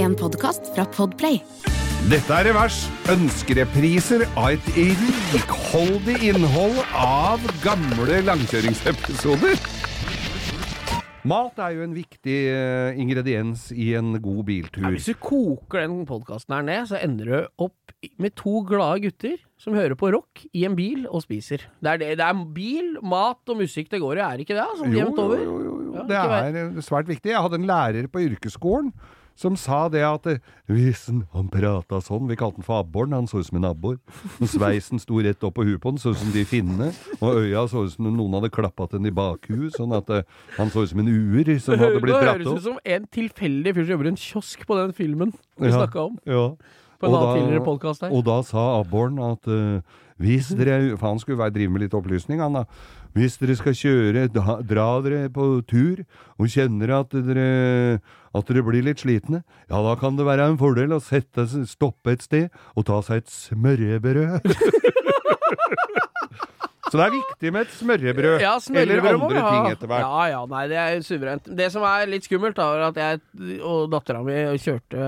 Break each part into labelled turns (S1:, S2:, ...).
S1: en podkast fra Podplay.
S2: Dette er Revers. Ønskerepriser av et rikholdig innhold av gamle langkjøringsepisoder. Mat er jo en viktig eh, ingrediens i en god biltur.
S3: Ja, hvis du koker den podkasten her ned, så ender du opp i- med to glade gutter som hører på rock i en bil og spiser. Det er, det, det er bil, mat og musikk det går i, er det ikke det? Altså, jevnt over.
S2: Jo, jo, jo, jo.
S3: Ja,
S2: det
S3: ikke
S2: er eh, svært viktig. Jeg hadde en lærer på yrkesskolen som sa det at eh, Visen, han prata sånn. Vi kalte han for abboren. Han så ut som en abbor. Men Sveisen sto rett opp på huet på han, så ut som de finnene. Og øya så ut som noen hadde klappa til den i bakhuet, sånn at eh, han så ut som en uer som
S3: Nå
S2: hadde blitt
S3: høres
S2: dratt
S3: det ut
S2: opp.
S3: som en tilfeldig fyr som jobber i en kiosk på den filmen vi
S2: Ja,
S3: snakka om.
S2: ja.
S3: På en
S2: Og
S3: annen
S2: da-
S3: tidligere podcast her. Mm.
S2: Og da sa abboren at eh, hvis dere For han skulle være- drive med litt opplysning, han da. Hvis dere skal kjøre, da, dra dere på tur og kjenner at dere, at dere blir litt slitne, ja, da kan det være en fordel å sette, s- stoppe et sted og ta seg et smørrebrød. Så det er viktig med et smørrebrød,
S3: Ja,
S2: eller
S3: smørrebrød må
S2: andre
S3: vi ha.
S2: ting etter hvert.
S3: Ja, ja, nei, det er suverent. Det som er litt skummelt, da, er at jeg og dattera mi kjørte,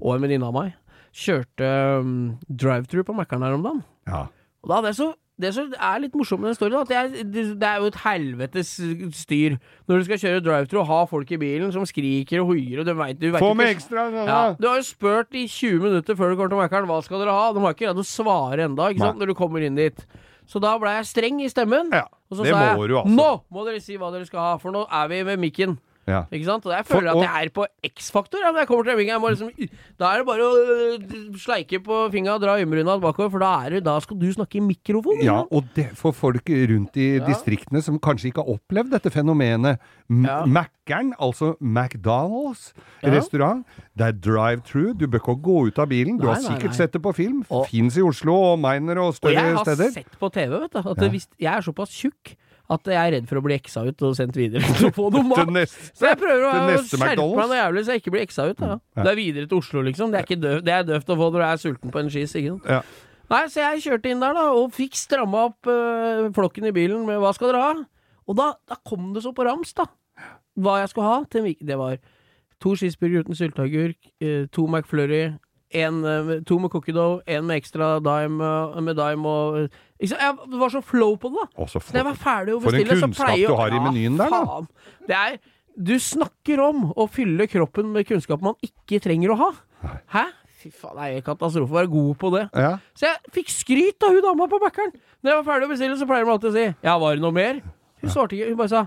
S3: og en venninne av meg, kjørte um, drive-through på Mækkern her om dagen.
S2: Ja.
S3: Og da, det, så, det som er litt morsomt med den storyen, da, at det er, det, det er jo et helvetes styr når du skal kjøre drive-through og ha folk i bilen som skriker og hoier, og du veit du vet
S2: Få
S3: ikke-
S2: med ekstra!
S3: ja,
S2: Ja.
S3: du har jo spurt i 20 minutter før du kommer til Mækkern hva skal dere ha. De har ikke greid å svare ennå når du kommer inn dit. Så da ble jeg streng i stemmen.
S2: Ja,
S3: og så
S2: det
S3: sa jeg
S2: må du altså.
S3: nå må dere si hva dere skal ha, for nå er vi ved mikken.
S2: Ja.
S3: Ikke sant? Og jeg
S2: For-
S3: føler at jeg er på X-faktor. Ja, når jeg kommer til den mikken, jeg må liksom, da er det bare å øh, sleike på fingra og dra øyenbryna bakover, for da, er det, da skal du snakke i mikrofon.
S2: Ja,
S3: ikke sant?
S2: og det, for folk rundt i distriktene som kanskje ikke har opplevd dette fenomenet. M
S3: Ja.
S2: Mackeren, altså McDonald's
S3: Ja.
S2: restaurant, det er drive-through. Du bør ikke gå ut av bilen. Du
S3: Nei,
S2: har
S3: nei,
S2: sikkert
S3: nei.
S2: sett det på film.
S3: Og-
S2: Fins i Oslo og Miner og
S3: og
S2: større
S3: jeg har
S2: steder.
S3: sett på TV, vet du, at det, hvis, jeg er såpass tjukk at jeg er redd for å bli eksa ut og sendt videre til å få noe mat.
S2: Til neste-
S3: Så jeg prøver å,
S2: til
S3: å
S2: neste
S3: skjerpe meg
S2: McDonald's.
S3: noe jævlig så jeg ikke blir eksa ut. Da. Det er videre til Oslo, liksom. Det er, ikke døv, det er døvt å få når du er sulten på en skis. Ikke sant?
S2: Ja.
S3: Nei, så jeg kjørte inn der da og fikk stramma opp øh, flokken i bilen med 'hva skal dere ha?' Og da, da kom det så på rams, da. Hva jeg skulle ha til mik- Det var to cheeseburger uten sylteagurk, eh, to McFlurry, en, eh, to med cookie dough, en med ekstra dime, eh, med dime og eh, ikke sant? Jeg var så flow på det, da.
S2: Og så
S3: Så når jeg
S2: for,
S3: var ferdig å
S2: for en
S3: bestille, så
S2: kunnskap
S3: pleier
S2: du har i menyen der, da.
S3: faen. Det er Du snakker om å fylle kroppen med kunnskap man ikke trenger å ha. Hæ? Fy faen, det er katastrofe å være god på det.
S2: ja.
S3: Så jeg fikk skryt av hun dama på Mækkern. Når jeg var ferdig å bestille, så pleier hun alltid å si 'ja, var det noe mer?' Hun svarte ikke, hun bare sa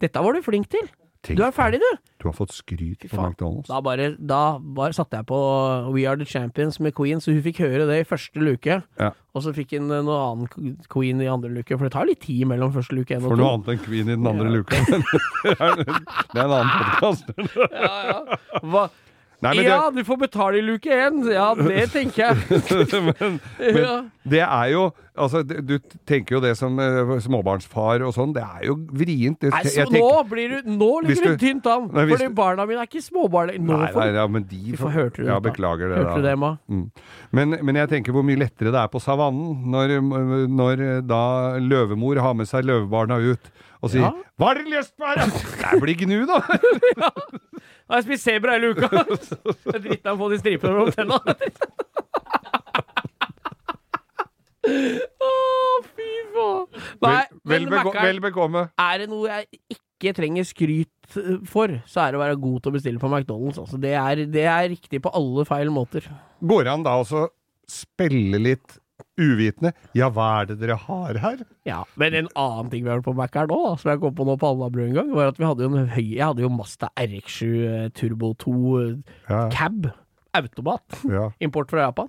S3: 'dette var du flink til'.
S2: Tenk
S3: Du er ferdig, du.
S2: Du har fått skryt på
S3: faen.
S2: McDonald's.
S3: Da bare, da bare satte jeg på We Are The Champions med Queen, så hun fikk høre det i første luke.
S2: Ja.
S3: Og så fikk hun eh, noe annen Queen i andre luke, for det tar litt tid mellom første luke én og
S2: For
S3: to.
S2: noe annet enn Queen i den andre luka. det er en annen podkast.
S3: Hva?
S2: Nei, men det,
S3: Ja, du får betale i luke én! Ja, det tenker jeg.
S2: Men
S3: Ja.
S2: det er jo Altså, det- du tenker jo det som eh, småbarnsfar og sånn. Det er jo vrient. Det,
S3: Nei, så
S2: jeg
S3: nå
S2: tenker-
S3: blir du Nå
S2: Hvis
S3: ligger du
S2: du-
S3: tynt an!
S2: Nei, hvis
S3: Fordi
S2: du-
S3: barna mine er ikke småbarn. Nå
S2: Nei, nei,
S3: får
S2: ja, men de
S3: får- hørte du
S2: Ja,
S3: det da?
S2: beklager det.
S3: Hørte du
S2: da.
S3: det, Ma?
S2: Mm. Men, men jeg tenker hvor mye lettere det er på savannen når, når eh, da løvemor har med seg løvebarna ut og sier
S3: Ja.
S2: 'Hva har dere lyst på her?' da?» Det blir gnu, da!
S3: Nå har jeg spist sebra hele uka! Det er Dritten av å få de stripene mellom tenna. Å, fy faen! Nei,
S2: vel, vel,
S3: men
S2: beko,
S3: Mac-eren,
S2: vel bekomme.
S3: er det noe jeg ikke trenger skryt eh, for, så er det å være god til å bestille på McDonald's. Altså, det, er, det er riktig på alle feil måter.
S2: Går det an da også spille litt uvitende 'Ja, hva er det dere har her?'
S3: Ja, men en annen ting vi har hørt på Mac her nå, da, som jeg kom på nå på Alnabru en gang, var at vi hadde jo en høy Jeg hadde jo Mazda RX7 eh, Turbo 2 eh,
S2: Ja,
S3: cab. Automat.
S2: ja.
S3: Import fra Japan.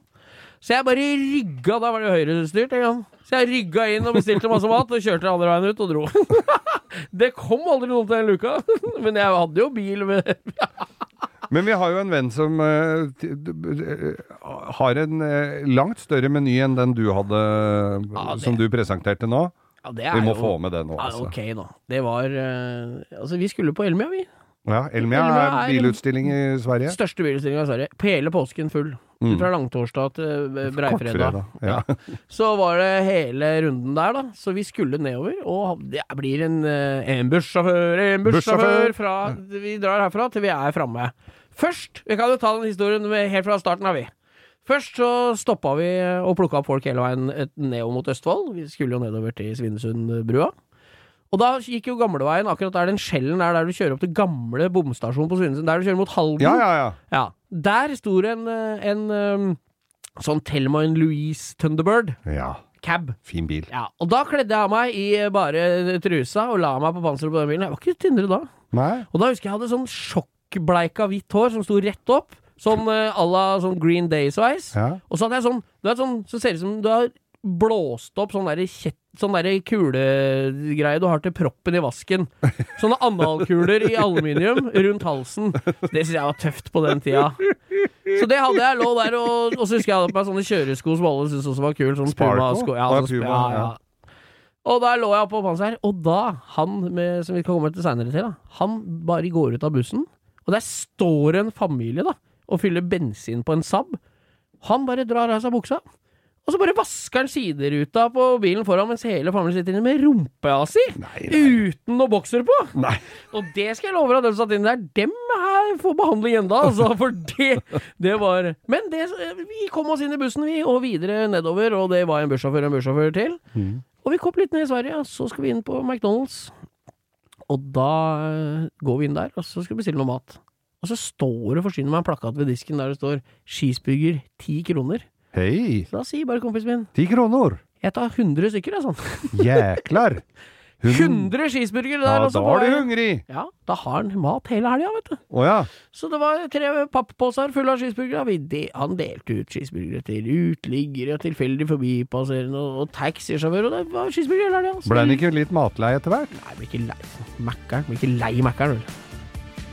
S3: Så jeg bare rygga Da var det jo høyrestyrt en gang. Så jeg rygga inn og bestilte masse mat, og kjørte andre veien ut og dro. Det kom aldri noen til den luka, men jeg hadde jo bil med
S2: Men vi har jo en venn som eh, t- d- b- eh, har en eh, langt større meny enn den du hadde,
S3: Ja, det-
S2: som du presenterte nå.
S3: ja, det er
S2: Vi må
S3: jo-
S2: få med det nå,
S3: Ja,
S2: altså.
S3: ok, da. Det var eh, Altså, vi skulle på Elmia, vi.
S2: Ja, Elmia er
S3: Elmia er-
S2: bilutstilling i Sverige.
S3: Største bilutstillinga i Sverige. På hele påsken full.
S2: Mm.
S3: Fra langtorsdag til eh, breifredag.
S2: Kortfredag, ja.
S3: Så var det hele runden der, da. Så vi skulle nedover. Og det blir en, eh, en bussjåfør, en bussjåfør
S2: Bussjåfør!
S3: fra Vi drar herfra til vi er framme. Først Vi kan jo ta den historien med, helt fra starten av, vi. Først så stoppa vi eh, og plukka opp folk hele veien et- nedover mot Østfold. Vi skulle jo nedover til Svinesundbrua. Og da gikk jo gamleveien akkurat der den skjellen er der du kjører opp til gamle bomstasjonen på Svinesund. Der du kjører mot Halden.
S2: Ja, ja, ja.
S3: Ja. Der sto det en, eh, en eh, sånn Thelma Louise Thunderbird
S2: Ja,
S3: cab.
S2: fin bil.
S3: Ja, og da kledde jeg av meg i eh, bare trusa og la meg på panseret på den bilen. Jeg var ikke tynnere da.
S2: Nei?
S3: Og da husker jeg jeg hadde sånn sjokkbleika hvitt hår som sto rett opp, sånn eh, à la sånn Green Day-sveis.
S2: Ja.
S3: Og så hadde jeg sånn, du vet, sånn Så ser det ut som du har blåst opp sånn derre kjett Sånn derre kulegreie du har til proppen i vasken. Sånne analkuler i aluminium rundt halsen. Det syns jeg var tøft på den tida. Så det hadde jeg. Lå der, og, og så husker jeg jeg hadde på meg sånne kjøresko som alle syntes også var kule. Sånn
S2: Sparko?
S3: Puma-sko.
S2: Å,
S3: Ja,
S2: ja,
S3: sånn sp-
S2: Puma,
S3: ja,
S2: ja.
S3: ja. Og der lå jeg oppå panseret, og da han med, som vi skal komme til seinere til, da, han bare går ut av bussen, og der står en familie da, og fyller bensin på en Saab. Han bare drar av seg buksa, og så bare vasker han sideruta på bilen foran mens hele familien sitter inne med rumpeasi!
S2: Nei, nei.
S3: Uten noe bokser på!
S2: nei.
S3: Og det skal jeg love deg, dem som satt inne der, dem her får behandling enda, altså, for det, det var Men det, vi kom oss inn i bussen, vi, og videre nedover, og det var en bussjåfør og en bussjåfør til. Og vi kom litt ned i Sverige, og så skal vi inn på McDonald's. Og da eh, går vi inn der, og så skal vi bestille noe mat. Og så står det forsyner meg en plakat ved disken der det står 'cheeseburger, ti kroner'.
S2: Hei!
S3: Så da sier bare kompisen min
S2: Ti kroner!
S3: 'jeg tar 100 stykker', jeg, sånn.
S2: Jæklar! Hun-
S3: 100 cheeseburgere der,
S2: Ja,
S3: og
S2: da
S3: så på
S2: er du
S3: vei-
S2: hungrig!
S3: Ja, da har han mat hele helga, vet du.
S2: Å ja.
S3: Så det var tre papposer fulle av cheeseburgere. Vi De, han delte ut cheeseburgere til uteliggere og tilfeldig forbipasserende og, og taxisjåfører, og det var cheeseburgere der, ja. Så
S2: Ble han
S3: det-
S2: ikke litt matlei etter hvert?
S3: Nei, blir ikke lei Mækkern. Blir ikke lei Mækkern, vel.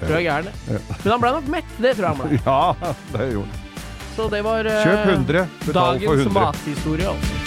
S3: Tror jeg er gæren, det. Men han ble nok mett, det tror jeg han ble.
S2: Ja, det gjorde han.
S3: Så det var eh,
S2: Kjøp 100, betal for
S3: dagens
S2: 100.
S3: mathistorie, altså.